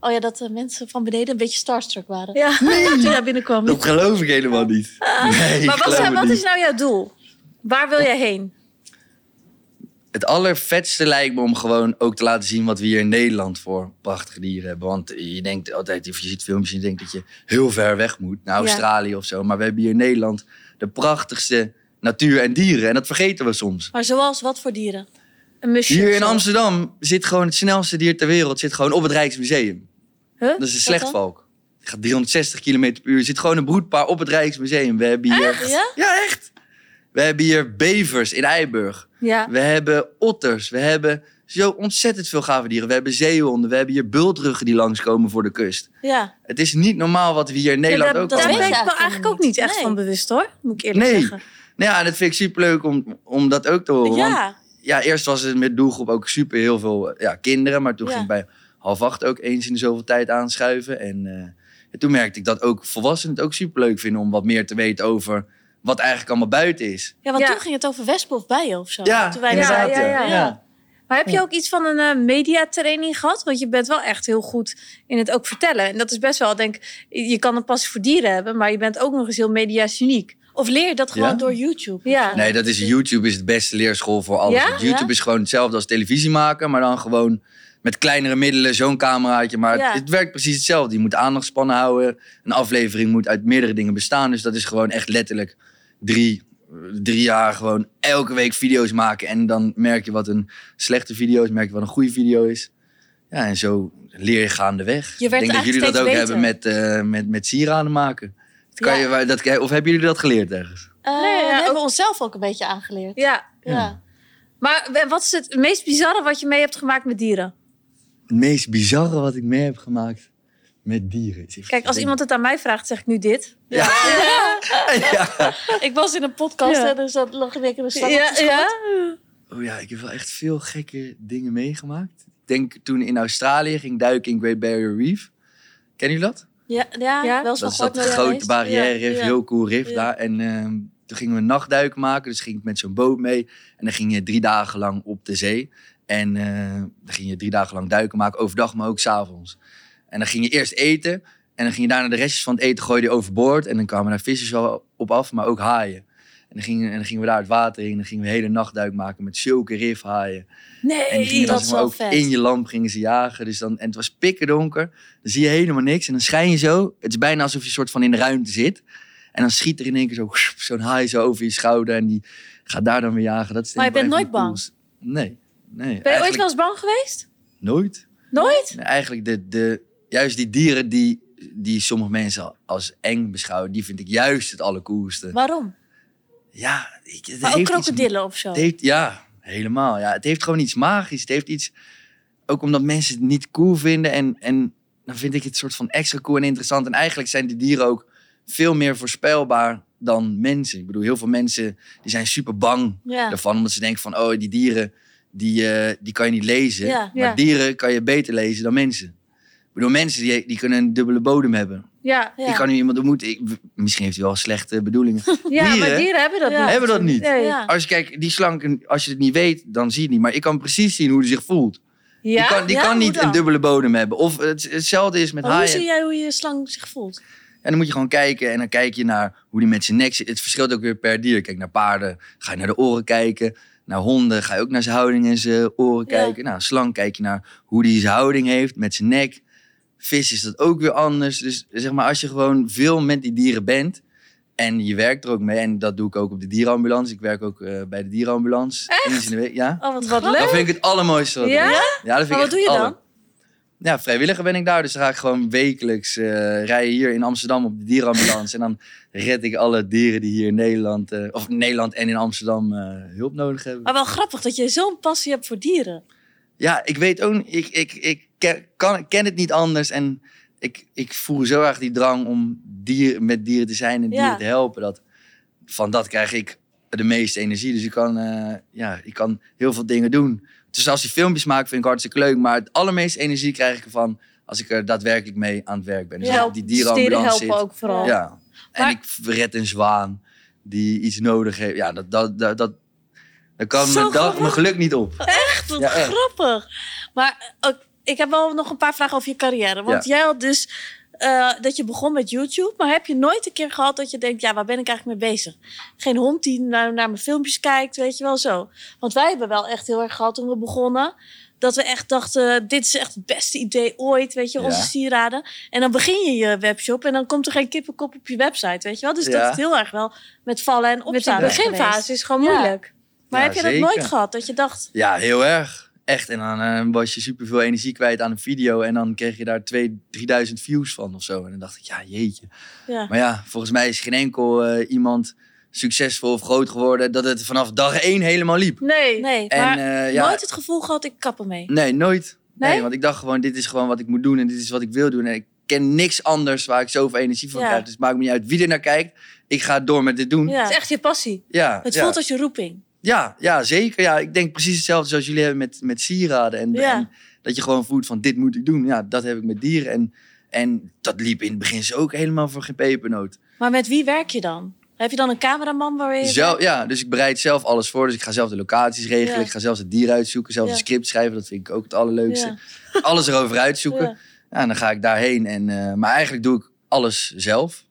A: oh ja, dat de mensen van beneden een beetje starstruck waren.
C: (laughs)
B: ja. toen je daar binnenkwam.
C: Dat geloof ik helemaal niet.
B: Ah.
C: Nee, ik
B: maar wat,
C: geloof
B: zijn-
C: het
B: wat
C: niet.
B: is nou jouw doel? Waar wil jij heen?
C: Het allervetste lijkt me om gewoon ook te laten zien wat we hier in Nederland voor prachtige dieren hebben. Want je denkt altijd, of je ziet filmpjes en je denkt dat je heel ver weg moet naar
B: Ja.
C: Australië of zo. Maar we hebben hier in Nederland de prachtigste natuur en dieren. En dat vergeten we soms.
A: Maar zoals wat voor dieren?
B: Een musje?
C: Hier
B: of
C: in
B: zo?
C: Amsterdam zit gewoon het snelste dier ter wereld zit gewoon op het Rijksmuseum.
B: Huh?
C: Dat is een slechtvalk. Die gaat 360 km per uur. Er zit gewoon een broedpaar op het Rijksmuseum. We hebben hier...
A: Ja?
C: Ja, echt. We hebben hier bevers in Eiburg.
B: Ja.
C: We hebben otters. We hebben zo ontzettend veel gave dieren. We hebben zeehonden. We hebben hier bultruggen die langskomen voor de kust.
A: Ja.
C: Het is niet normaal wat we hier in Nederland
B: dat,
C: ook
B: daar
A: al.
B: ben
C: allemaal
B: ik
C: hebben.
A: Weet je
B: me
A: eigenlijk
B: eigenlijk ook
A: niet.
B: niet echt
A: Nee.
B: van bewust hoor. Moet ik eerlijk
C: Nee.
B: zeggen.
C: Nou ja, en dat vind ik superleuk om, om dat ook te horen. Want
A: Ja.
C: ja, eerst was het met doelgroep ook super heel veel eh, ja, kinderen. Maar toen
A: Ja.
C: ging ik bij half acht ook eens in de zoveel tijd aanschuiven. En, eh, en toen merkte ik dat ook volwassenen het ook superleuk vinden om wat meer te weten over wat eigenlijk allemaal buiten is.
A: Ja, want
B: Ja.
A: toen ging het over wespen of bijen of zo.
C: Ja,
A: toen wij dus
C: inderdaad.
B: ja, ja,
C: ja.
A: ja.
B: Maar heb je ook iets van een eh, mediatraining gehad? Want je bent wel echt heel goed in het ook vertellen. En dat is best wel, denk ik, je kan een passie voor dieren hebben, maar je bent ook nog eens heel mediageniek.
A: Of leer je dat gewoon
C: Ja.
A: door YouTube?
B: Ja.
C: Nee, dat is YouTube is het beste leerschool voor alles.
B: Ja?
C: Want YouTube
A: Ja?
C: is gewoon hetzelfde als televisie maken, maar dan gewoon met kleinere middelen, zo'n cameraatje. Maar het-
A: Ja.
C: het, werkt precies hetzelfde. Je moet aandachtspannen houden. Een aflevering moet uit meerdere dingen bestaan. Dus dat is gewoon echt letterlijk drie, drie jaar gewoon elke week video's maken. En dan merk je wat een slechte video is, merk je wat een goede video is. Ja, en zo leer je gaandeweg.
A: Je werd
C: Ik denk dat
A: eigenlijk
C: jullie dat ook
A: steeds
C: hebben met, eh, met, met sieraden maken. Dat kan
A: Ja.
C: je, dat, of hebben jullie dat geleerd ergens?
A: Eh,
B: Nee, ja,
A: we hebben
B: ook-
A: onszelf ook een beetje aangeleerd.
B: Ja.
A: Ja.
C: Ja.
B: Maar eh, wat is het meest bizarre wat je mee hebt gemaakt met dieren?
C: Het meest bizarre wat ik mee heb gemaakt met dieren. Is even
B: Kijk, als
C: denken.
B: iemand het aan mij vraagt, zeg ik nu dit.
C: ja.
A: Ik was in een podcast
B: Ja.
A: en er zat nog dus een week in een stad.
B: Ja, ja.
C: Oh ja, ik heb wel echt veel gekke dingen meegemaakt. Ik denk toen in Australië ging duiken in Great Barrier Reef. Ken jullie dat?
A: Ja, ja,
B: Ja.
A: wel eens
C: Dat is
A: van
C: dat
A: gehoord, maar
C: grote
A: geweest.
C: barrière
A: Ja,
C: rif,
A: ja.
C: heel cool rif
A: Ja.
C: daar. En ehm, toen gingen we een nachtduik maken, dus ging ik met zo'n boot mee. En dan ging je drie dagen lang op de zee. En eh, dan ging je drie dagen lang duiken maken, overdag maar ook s'avonds. En dan ging je eerst eten. En dan ging je daarna de restjes van het eten gooien overboord. En dan kwamen daar vissen zo op af, maar ook haaien. En dan, gingen, en dan gingen we daar het water in. En dan gingen we een hele nachtduik maken met zulke rifhaaien.
B: Nee.
C: En die gingen dan
A: dat
C: zeg
A: is
C: maar
A: wel
C: ook
A: vet.
C: in je lamp gingen ze jagen. Dus dan, en het was pikkerdonker. Dan zie je helemaal niks. En dan schijn je zo. Het is bijna alsof je soort van in de ruimte zit. En dan schiet er in één keer zo, (laughs) zo'n haai zo over je schouder. En die gaat daar dan weer jagen. Dat is
A: Maar je
C: denk ik wel
A: bent
C: een
A: nooit
C: van de coolste- Nee. nee
B: Ben je ooit
C: eigenlijk
B: wel eens bang geweest?
C: Nooit.
B: Nooit?
C: Nee, eigenlijk de, de, juist die dieren die, die sommige mensen als eng beschouwen... die vind ik juist het allercoolste.
A: Waarom?
C: Ja, ik, het
A: Maar ook
C: heeft iets-
A: krokodillen of zo.
C: het heeft, ja, helemaal. Ja. Het heeft gewoon iets magisch. Het heeft iets, ook omdat mensen het niet cool vinden. En, en dan vind ik het soort van extra cool en interessant. En eigenlijk zijn die dieren ook veel meer voorspelbaar dan mensen. Ik bedoel, heel veel mensen die zijn super bang
A: Ja.
C: daarvan. Omdat ze denken van, oh, die dieren, die, eh, die kan je niet lezen.
A: Ja.
C: Maar
B: Ja.
C: dieren kan je beter lezen dan mensen. Ik bedoel, mensen die, die kunnen een dubbele bodem hebben.
B: Ja.
A: Ja.
C: Ik kan nu iemand ontmoeten. Ik, misschien heeft hij wel slechte bedoelingen.
B: Ja, maar
C: Dieren?
B: dieren hebben dat
A: Ja.
B: niet.
C: Hebben dat niet.
B: Nee.
A: Ja.
C: Als je kijkt, die slank, als je het niet weet, dan zie je het niet. Maar ik kan precies zien hoe die zich voelt.
B: Ja?
C: die kan, die
A: Ja,
C: kan
A: hoe
C: niet
A: dan?
C: een dubbele bodem hebben. Of het, hetzelfde is met
A: Maar Oh, hoe
C: haaien.
A: zie jij hoe je slang zich voelt? Oh,
C: En dan moet je gewoon kijken en dan kijk je naar hoe die met zijn nek zit. Het verschilt ook weer per dier. Kijk naar paarden, ga je naar de oren kijken. naar honden ga je ook naar zijn houding en zijn oren
A: Ja.
C: kijken. Nou, slang kijk je naar hoe die zijn houding heeft met zijn nek. Vis is dat ook weer anders. Dus zeg maar, als je gewoon veel met die dieren bent en je werkt er ook mee. En dat doe ik ook op de dierenambulance. Ik werk ook eh, bij de dierenambulance. Eens in de week, ja.
A: Oh, wat,
B: Wat
A: grappig.
C: Dat vind ik het allermooiste. wat er
A: Ja?
C: is. ja dat
A: Maar
C: vind ik
A: wat doe
C: echt
A: je
C: alle-
A: dan?
C: Ja, vrijwilliger ben ik daar. Dus dan ga ik gewoon wekelijks eh, rijden hier in Amsterdam op de dierenambulance. en dan red ik alle dieren die hier in Nederland, eh, of in Nederland en in Amsterdam eh, hulp nodig hebben.
A: Maar wel grappig dat je zo'n passie hebt voor dieren.
C: Ja, ik weet ook, ik, ik, ik ken, kan, ken het niet anders. En ik, ik voel zo erg die drang om dier, met dieren te zijn en
A: Ja.
C: dieren te helpen. Dat, van dat krijg ik de meeste energie. Dus ik kan, eh, ja, ik kan heel veel dingen doen. Dus als die filmpjes maak, vind ik hartstikke leuk. Maar het allermeeste energie krijg ik ervan als ik er daadwerkelijk mee aan het werk ben. Dus
A: Ja,
C: als ik op die
B: Steden
C: dierenambulance
B: helpen
C: zit.
B: ook vooral.
C: Ja. En
A: Maar-
C: ik red een zwaan die iets nodig heeft. Ja, dat, dat, dat, dat, dat kan
A: Zo
C: mijn, dag,
A: grappig.
C: mijn geluk niet op.
A: Echt wat
C: Ja, echt.
A: grappig. Maar eh, ook- ik heb wel nog een paar vragen over je carrière. Want jij had dus eh, dat je begon met YouTube. Maar heb je nooit een keer gehad dat je denkt... ja, waar ben ik eigenlijk mee bezig? Geen hond die naar, naar mijn filmpjes kijkt, weet je wel zo. Want wij hebben wel echt heel erg gehad toen we begonnen... dat we echt dachten, dit is echt het beste idee ooit, weet je,
C: Ja.
A: onze sieraden. En dan begin je je webshop en dan komt er geen kippenkop op je website, weet je wel. Dus dat
C: Ja.
A: is heel erg wel met vallen en
B: Met die
A: opstaan geweest.
B: beginfase is gewoon
A: Ja.
B: moeilijk.
A: Maar
C: Ja,
A: heb je
C: zeker.
A: dat nooit gehad, dat je dacht...
C: Ja, heel erg. Echt. En dan eh, was je superveel energie kwijt aan een video. En dan kreeg je daar 2 3000 views van of zo. En dan dacht ik, ja, jeetje.
A: Ja.
C: Maar ja, volgens mij is geen enkel eh, iemand succesvol of groot geworden dat het vanaf dag één helemaal liep.
B: Nee.
A: Nee,
C: En
A: maar
C: eh, ja,
A: nooit het gevoel gehad, ik kap ermee.
C: nee, nooit. Nee?
A: Nee?
C: want ik dacht gewoon, dit is gewoon wat ik moet doen en dit is wat ik wil doen. En ik ken niks anders waar ik zoveel energie van
A: Ja.
C: krijg. Dus het maakt me niet uit wie er naar kijkt. Ik ga door met dit doen. Ja,
B: Het is
A: Ja.
B: echt je passie.
C: ja,
A: Het
C: ja.
A: voelt als je roeping.
C: Ja, ja zeker. Ja, ik denk precies hetzelfde zoals jullie hebben met, met sieraden. En,
A: Ja.
C: en dat je gewoon voelt van dit moet ik doen. Ja, dat heb ik met dieren. En, en dat liep in het begin zo ook helemaal voor geen pepernoot.
A: Maar met wie werk je dan? Heb je dan een cameraman waar je...
C: Zelf, ja, dus ik bereid zelf alles voor. Dus ik ga zelf de locaties regelen.
A: Ja.
C: Ik ga zelfs het dier uitzoeken. Zelf
A: Ja.
C: een script schrijven. Dat vind ik ook het allerleukste.
A: Ja.
C: Alles erover uitzoeken. Ja.
A: Ja.
C: en dan ga ik daarheen. En, eh, maar eigenlijk doe ik alles zelf.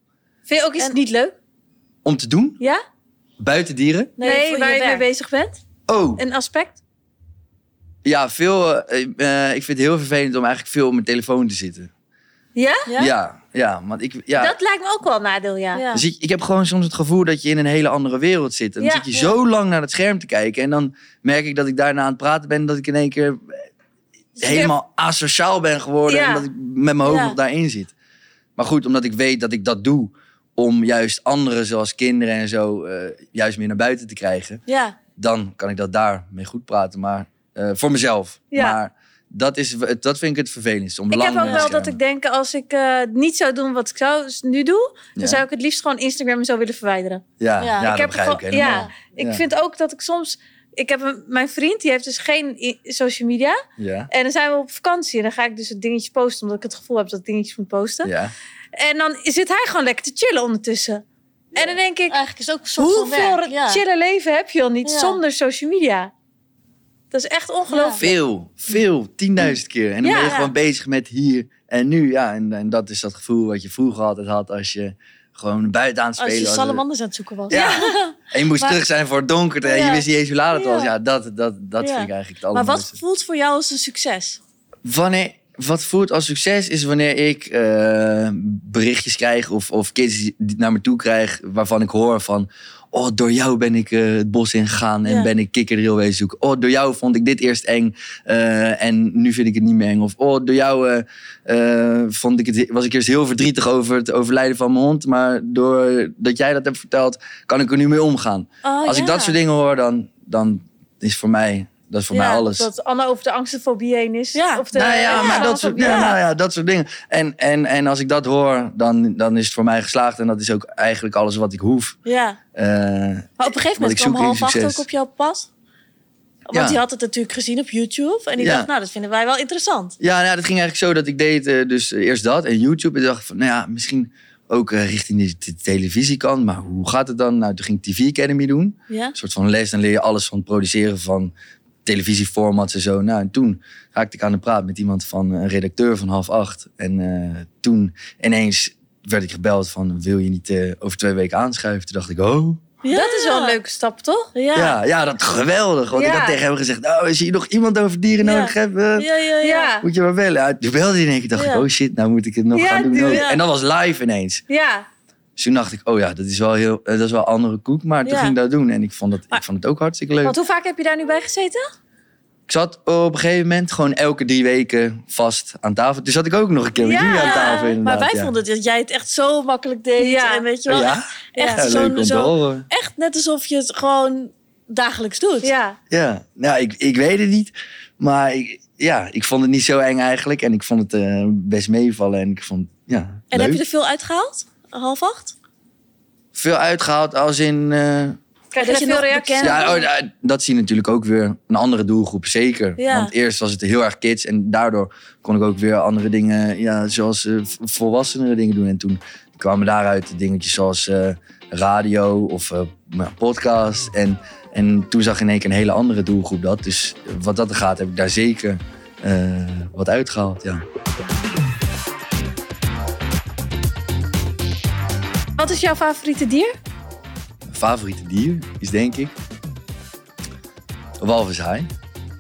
B: Vind je ook iets
A: En-
B: niet leuk?
C: Om te doen.
B: Ja?
C: Buiten dieren.
A: Nee, voor
B: waar je mee
A: werk.
B: bezig bent?
C: Oh,
B: Een aspect?
C: ja, veel. eh, eh, ik vind het heel vervelend om eigenlijk veel op mijn telefoon te zitten.
B: Ja?
A: Ja?
C: Ja, ja, want ik, ja.
B: Dat lijkt me ook wel een nadeel, ja.
A: Ja.
C: Dus ik, ik heb gewoon soms het gevoel dat je in een hele andere wereld zit. En dan
B: Ja,
C: zit je
B: ja.
C: zo lang naar het scherm te kijken. En dan merk ik dat ik daarna aan het praten ben. Dat ik in één keer eh, helemaal asociaal ben geworden.
B: Dus Ja.
C: En dat ik met mijn hoofd
A: Ja.
C: nog daarin zit. Maar goed, omdat ik weet dat ik dat doe. Om juist anderen, zoals kinderen en zo, eh, juist meer naar buiten te krijgen.
A: Ja.
C: Dan kan ik dat daar mee goed praten. Maar eh, voor mezelf.
B: Ja.
C: Maar dat, is, het- dat vind ik het vervelendste. Om
B: Ik
C: lang
B: heb ook
C: naar het
B: wel dat
C: scherm.
B: ik denk, als ik eh, niet zou doen wat ik zou, nu doe,
C: Ja.
B: dan zou ik het liefst gewoon Instagram en zo willen verwijderen.
C: Ja,
A: Ja,
C: ja,
A: ik
C: dat
B: heb
C: begrijp ik
B: gewoon-
C: helemaal.
B: ja, Ik
C: Ja.
B: vind ook dat ik soms. Ik heb een, mijn vriend, die heeft dus geen i- social media.
C: Ja,
B: En dan zijn we op vakantie. En dan ga ik dus het dingetje posten, omdat ik het gevoel heb dat ik dingetjes moet posten.
C: ja.
B: En dan zit hij gewoon lekker te chillen ondertussen. En dan denk ik,
A: Eigenlijk is het ook een soort van
B: hoeveel
A: werk. Ja.
B: chille leven heb je al niet
A: Ja.
B: zonder social media? Dat is echt ongelooflijk.
C: Veel, veel, tienduizend keer. En dan
B: Ja,
C: ben je
B: ja.
C: gewoon bezig met hier en nu. Ja, en, en dat is dat gevoel wat je vroeger altijd had als je gewoon buiten aan het
A: Als
C: spelen
A: je
C: was.
A: salamanders aan het zoeken was.
C: Ja. En je moest
A: Maar-
C: terug zijn voor het donker en je
A: Ja.
C: wist niet eens hoe laat het
A: Ja.
C: was. Ja, dat, dat, dat
A: Ja.
C: vind ik eigenlijk het
A: Maar
C: allermooiste.
A: wat voelt voor jou als een succes?
C: Wanneer, wat voelt als succes is wanneer ik eh, berichtjes krijg of, of kids die die naar me toe krijg waarvan ik hoor van... Oh, door jou ben ik eh, het bos ingegaan en
A: Ja.
C: ben ik kikkerdril wezen zoeken. Oh, door jou vond ik dit eerst eng eh, en nu vind ik het niet meer eng. Of oh, door jou eh, eh, vond ik het, was ik eerst heel verdrietig over het overlijden van mijn hond. Maar doordat jij dat hebt verteld, kan ik er nu mee omgaan.
A: Oh,
C: als ik
A: ja.
C: dat soort dingen hoor, dan, dan is voor mij, dat is voor
A: Ja,
C: mij alles.
B: Dat Anna over de angstfobie heen is.
A: Ja.
B: Of de,
C: Nou ja, maar dat soort,
B: angstfobie.
C: ja, nou ja, dat soort dingen. En, en, en als ik dat hoor, dan, dan is het voor mij geslaagd. En dat is ook eigenlijk alles wat ik hoef.
A: Ja.
C: Eh,
A: Maar op een gegeven
C: Want
A: moment
C: ik
A: kwam
C: zoek
A: half
C: geen
A: acht ook
C: succes.
A: op jouw pad. Want
C: Ja.
A: die had het natuurlijk gezien op YouTube. En die
C: Ja.
A: dacht, nou, dat vinden wij wel interessant.
C: ja, nou, ja, dat ging eigenlijk zo dat ik deed eh, dus eerst dat en YouTube. En dacht ik van, nou ja, misschien ook eh, richting de, de televisiekant. Maar hoe gaat het dan? Nou, toen ging ik TV Academy doen.
A: Ja.
C: Een soort van les. Dan leer je alles van het produceren van televisieformats en zo. Nou, en toen raakte ik aan de praat met iemand van een redacteur van half acht. En eh, toen ineens werd ik gebeld van wil je niet eh, over twee weken aanschuiven? Toen dacht ik, oh,
A: Ja. Dat is wel een leuke stap, toch?
C: Ja, ja, dat geweldig. Want ik
A: Ja.
C: had tegen hem gezegd, oh, als je nog iemand over dieren
A: Ja.
C: nodig hebt, eh,
A: Ja, ja, ja.
C: moet je maar bellen. Ja, Toen belde hij en ik dacht, ik,
A: Ja.
C: oh shit, nou moet ik het nog
A: Ja,
C: gaan doen.
A: doe-
C: ook.
A: ja.
C: En dat was live ineens.
A: Ja,
C: Dus toen dacht ik, oh ja, dat is wel heel, eh, dat is wel andere koek. Maar toen
A: Ja.
C: ging ik dat doen en ik vond, dat, ik
A: Maar-
C: vond het ook hartstikke leuk.
A: want hoe vaak heb je daar nu bij gezeten?
C: Ik zat op een gegeven moment gewoon elke drie weken vast aan tafel. Toen zat ik ook nog een keer met jullie aan tafel
A: maar
C: inderdaad.
A: wij
C: ja.
A: vonden dat jij het echt zo makkelijk deed.
B: Ja.
A: En weet je wel,
C: Ja?
A: echt
C: Ja, leuk om
A: zo'n
C: te
A: zo,
C: horen.
A: echt net alsof je het gewoon dagelijks doet.
B: Ja.
C: Ja, nou, ik, ik weet het niet. Maar ik, ja, ik vond het niet zo eng eigenlijk. En ik vond het eh, best meevallen. En ik vond, ja,
A: En
C: leuk.
A: heb je er veel uitgehaald? Half acht?
C: Veel uitgehaald als in... eh,
B: Krijg
A: Dat
B: je
A: je
B: veel
A: nog
B: reacties?
A: bekend-
C: Ja, oh, ja, dat zie je natuurlijk ook weer een andere doelgroep, zeker.
A: Ja.
C: Want eerst was het heel erg kids en daardoor kon ik ook weer andere dingen, ja, zoals eh, v- volwassenere dingen doen. En toen kwamen daaruit dingetjes zoals eh, radio of eh, nou, podcast. En, en toen zag ik in één keer een hele andere doelgroep dat. Dus wat dat gaat, heb ik daar zeker eh, wat uitgehaald, ja. oh.
A: Wat is jouw favoriete dier?
C: Mijn favoriete dier is denk ik walvishaai.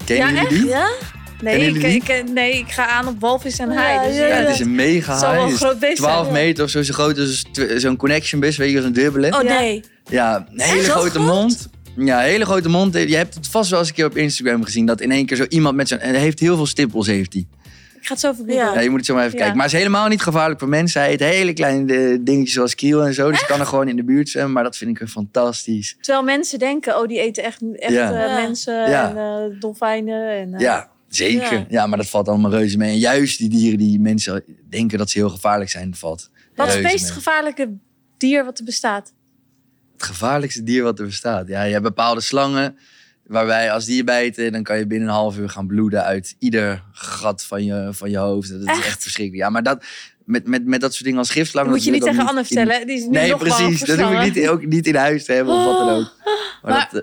C: Kennen
B: Ja,
C: jullie
B: echt?
C: die?
A: Ja?
C: Kennen
B: Nee ik,
C: jullie
B: ik, nee, ik ga aan op walvis en
A: Ja,
B: haai. Dus
A: ja,
C: Ja,
B: ja.
C: het is een mega
B: Het zal wel een
C: haai. Het is
B: groot beest zijn,
C: 12
B: ja.
C: meter of zo, zo groot als tw- zo'n connection bus, weet je, zo'n dubbele.
A: Oh
B: Ja.
A: nee.
C: Ja, een hele
A: Echt? Zo
C: grote
A: groot?
C: mond. Ja, een hele grote mond. Je hebt het vast wel eens een keer op Instagram gezien dat in één keer zo iemand met zo'n... en Hij heeft heel veel stippels, heeft hij.
B: Ik ga het zo even googlen.
A: Ja.
C: Ja, je moet het zo maar even
B: Ja.
C: kijken. Maar het is helemaal niet gevaarlijk voor mensen. Hij eet hele kleine eh, dingetjes zoals kiel en zo. Dus je kan er gewoon in de buurt zwemmen, maar dat vind ik een fantastisch.
B: Terwijl mensen denken, oh, die eten echt, echt
C: Ja.
B: eh,
A: Ja.
B: mensen
C: Ja.
B: en eh, dolfijnen. En, eh,
C: Ja, zeker. Ja.
A: Ja.
C: maar dat valt allemaal reuze mee. En juist die dieren die mensen denken dat ze heel gevaarlijk zijn, valt
B: Wat is het
C: reuze
B: meest
C: mee.
B: gevaarlijke dier wat er bestaat?
C: het gevaarlijkste dier wat er bestaat. Ja, je hebt bepaalde slangen waarbij als die je bijten, dan kan je binnen een half uur gaan bloeden uit ieder gat van je, van je hoofd. Dat is echt, verschrikkelijk. Ja, maar dat, met, met, met dat soort dingen als gif... laat me
B: Dat moet je
C: dat
B: niet tegen
C: dan
B: Anne
C: in-
B: vertellen. Die is nu
C: Nee,
B: nog bang
C: precies.
B: voor
C: Dat hoef ik
B: slangen.
C: niet, ook niet in huis te hebben of wat dan ook. Maar,
B: Oh.
A: Maar-
C: dat,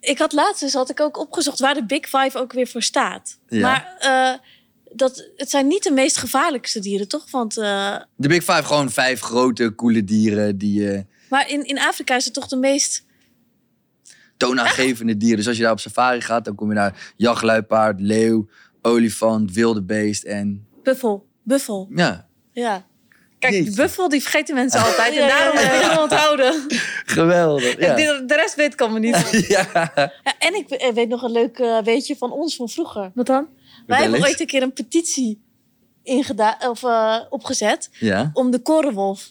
C: eh,
A: Ik had laatst dus had ik ook opgezocht waar de Big Five ook weer voor staat.
C: Ja.
A: Maar eh, dat, het zijn niet de meest gevaarlijkste dieren, toch? Want, eh,
C: de Big Five, gewoon vijf grote, coole dieren die... eh,
A: maar in, in Afrika is het toch de meest...
C: toonaangevende dieren. Dus als je daar op safari gaat, dan kom je naar jachtluipaard, leeuw, olifant, wilde beest en
B: Buffel.
A: Buffel.
C: ja,
A: Ja.
B: Kijk, die
C: Jeetje.
B: buffel die vergeten mensen altijd.
A: Ja,
B: en
A: ja,
B: daarom
A: ja, ja.
B: moet ik hem onthouden.
C: geweldig. (laughs) Ja.
B: De, de rest weet ik allemaal niet.
C: ja.
A: Ja, en ik eh, weet nog een leuk eh, weetje van ons van vroeger.
B: Wat dan?
A: Wij hebben
C: eens.
A: ooit een keer een petitie ingeda- of, eh, opgezet
C: Ja.
A: om de korenwolf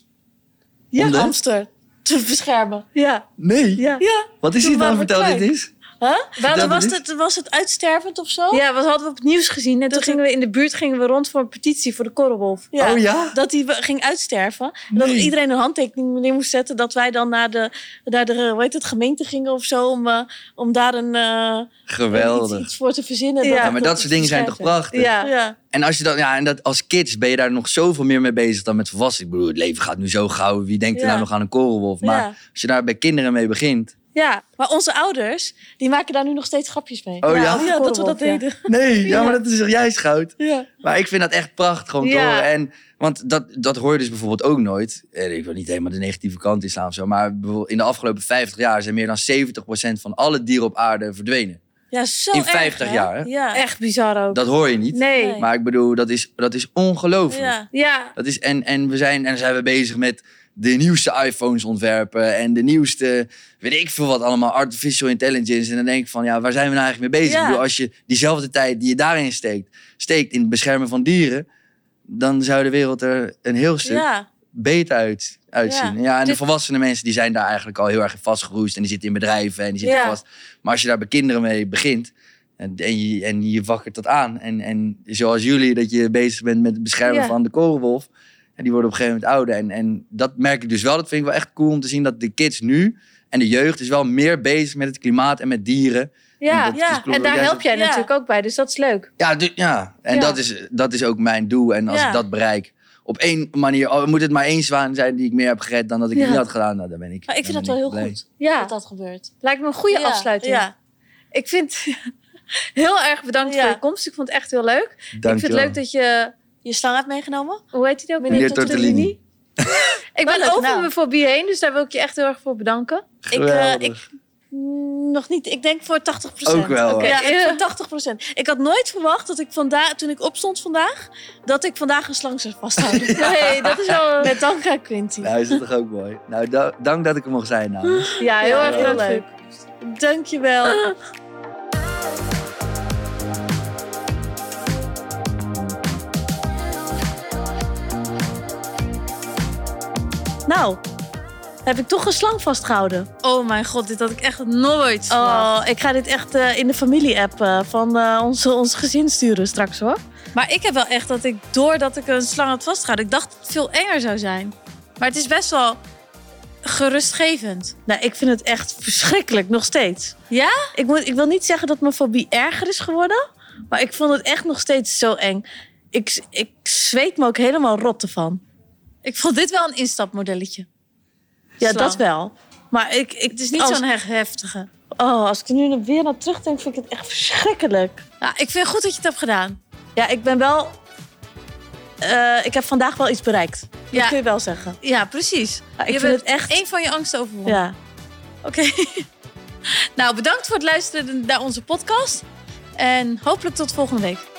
C: Om
A: in
C: de-
A: Amster te beschermen.
B: Ja,
C: Nee.
B: ja.
A: Ja,
C: Wat is
B: Toen
C: dit dan?
B: waren we
C: Vertel dit
B: kwijt.
C: eens.
A: hè?
C: dat
A: Waarom was
C: niet?
A: het, was het uitstervend of zo?
B: Ja, wat hadden we op het nieuws gezien. En toen gingen we in de buurt gingen we rond voor een petitie voor de korrelwolf.
A: Ja.
C: Oh ja?
A: Dat die we- ging uitsterven. En dat
C: Nee.
A: iedereen een handtekening neer moest zetten. Dat wij dan naar de, naar de eh, hoe heet het, gemeente gingen of zo. Om, eh, om daar een, eh,
C: Geweldig.
A: Iets, iets voor te verzinnen.
B: Ja.
C: Ja, maar dat soort dingen zijn toch prachtig?
B: Ja.
A: Ja.
C: En, als je dan, ja, en dat, als kids ben je daar nog zoveel meer mee bezig dan met volwassenen. Ik bedoel, het leven gaat nu zo gauw. Wie denkt er
A: Ja.
C: nou nog aan een korrelwolf? Maar
A: Ja.
C: als je daar bij kinderen mee begint...
B: Ja,
A: Maar onze ouders, die maken daar nu nog steeds grapjes mee.
C: Oh ja?
B: over
A: Ja, dat we dat
B: korrelwolf, ja.
A: deden.
C: Nee, ja, maar dat is toch juist goud?
A: Ja.
C: Maar ik vind dat echt prachtig gewoon te
B: Ja.
C: horen. En, want dat, dat hoor je dus bijvoorbeeld ook nooit. En ik wil niet helemaal de negatieve kant inslaan of zo. Maar bijvoorbeeld in de afgelopen 50 jaar zijn meer dan 70% van alle dieren op aarde verdwenen.
A: Ja, zo
C: In
A: erg,
C: 50
A: hè?
C: jaar, hè?
A: Ja.
B: Echt bizar ook.
C: Dat hoor je niet.
B: Nee.
A: Nee.
C: Maar ik bedoel, dat is, dat is ongelooflijk.
A: Ja.
B: Ja,
C: Dat is, en, en we zijn, en dan zijn we bezig met de nieuwste iPhones ontwerpen en de nieuwste, weet ik veel wat allemaal, artificial intelligence. En dan denk ik van, ja, waar zijn we nou eigenlijk mee bezig?
A: Ja.
C: Ik bedoel, als je diezelfde tijd die je daarin steekt, steekt in het beschermen van dieren, dan zou de wereld er een heel stuk
A: Ja.
C: beter uit, uitzien. Ja,
A: Ja.
C: en de
A: Dit-
C: volwassene mensen die zijn daar eigenlijk al heel erg in vastgeroest en die zitten in bedrijven en die zitten
B: Ja.
C: vast. Maar als je daar bij kinderen mee begint en, en, je, en je wakkert dat aan en, en zoals jullie dat je bezig bent met het beschermen
B: Ja.
C: van de korenwolf en die worden op een gegeven moment ouder en, en dat merk ik dus wel. Dat vind ik wel echt cool om te zien dat de kids nu en de jeugd is wel meer bezig met het klimaat en met dieren.
B: ja.
C: Dat is
A: ja.
C: klopt.
B: En daar help jij
A: Ja.
B: natuurlijk ook bij, dus dat is leuk.
C: Ja, du- ja. en
B: Ja.
C: Dat, is, dat is ook mijn doel. En als
A: Ja.
C: ik dat bereik, op één manier, al moet het maar één zwaan zijn die ik meer heb gered dan dat ik
B: Ja.
C: niet had gedaan, nou, dan ben ik.
A: Maar ik vind
C: dan
A: dat wel
C: ben
A: heel
C: ik blij.
A: goed
B: Ja,
A: dat dat gebeurt.
B: lijkt me een goede
A: Ja,
B: afsluiting.
A: Ja.
B: Ik vind (laughs) heel erg bedankt
A: Ja.
B: voor je komst. Ik vond het echt heel leuk.
C: Dank
B: ik vind het leuk dat je,
A: Je slang hebt meegenomen?
B: hoe heet hij nou ook?
C: Meneer Tortellini.
B: Ik ben
A: Oh, leuk
B: over
A: naam.
B: mijn fobie heen, dus daar wil ik je echt heel erg voor
A: (laughs)
B: bedanken.
A: Ik, eh,
C: Geweldig.
A: ik- Mm, Nog niet. Ik denk voor 80%.
C: Ook wel, hoor.
A: Oké,
B: Ja.
A: ik- voor 80%. Ik had nooit verwacht dat ik vandaag, toen ik opstond vandaag, dat ik vandaag een slang zou vasthouden.
B: Nee, dat is wel...
A: (laughs) Met dank aan Quinty.
C: Nou, is dat toch ook mooi? Nou, da- dank dat ik er mocht zijn nou. namens.
B: (laughs) Ja, heel
A: Ja,
B: erg
A: heel
B: heel
A: leuk.
B: leuk.
A: Dankjewel. Nou, heb ik toch een slang vastgehouden.
B: Oh mijn god, dit had ik echt nooit verwacht.
A: Oh, ik ga dit echt eh, in de familie-app eh, van eh, onze, ons gezin sturen straks hoor.
B: Maar ik heb wel echt dat ik, doordat ik een slang had vastgehouden, ik dacht dat het veel enger zou zijn. Maar het is best wel gerustgevend.
A: Nou, ik vind het echt verschrikkelijk, nog steeds.
B: Ja?
A: Ik, moet, ik wil niet zeggen dat mijn fobie erger is geworden, maar ik vond het echt nog steeds zo eng. Ik, ik zweet me ook helemaal rot ervan.
B: Ik vond dit wel een instapmodelletje.
A: Ja,
B: Slang.
A: dat wel. Maar ik, ik,
B: Het is niet
A: als,
B: zo'n hef- heftige.
A: Oh, als ik er nu weer naar terugdenk, vind ik het echt verschrikkelijk.
B: Ja, ik vind het goed dat je het hebt gedaan.
A: Ja, ik ben wel. eh, ik heb vandaag wel iets bereikt. Dat
B: Ja.
A: kun je wel zeggen.
B: Ja, precies.
A: Ja, ik
B: je
A: vind
B: bent
A: het echt.
B: Eén van je angsten overwonnen.
A: Ja.
B: Oké. (laughs) nou, bedankt voor het luisteren naar onze podcast. En hopelijk tot volgende week.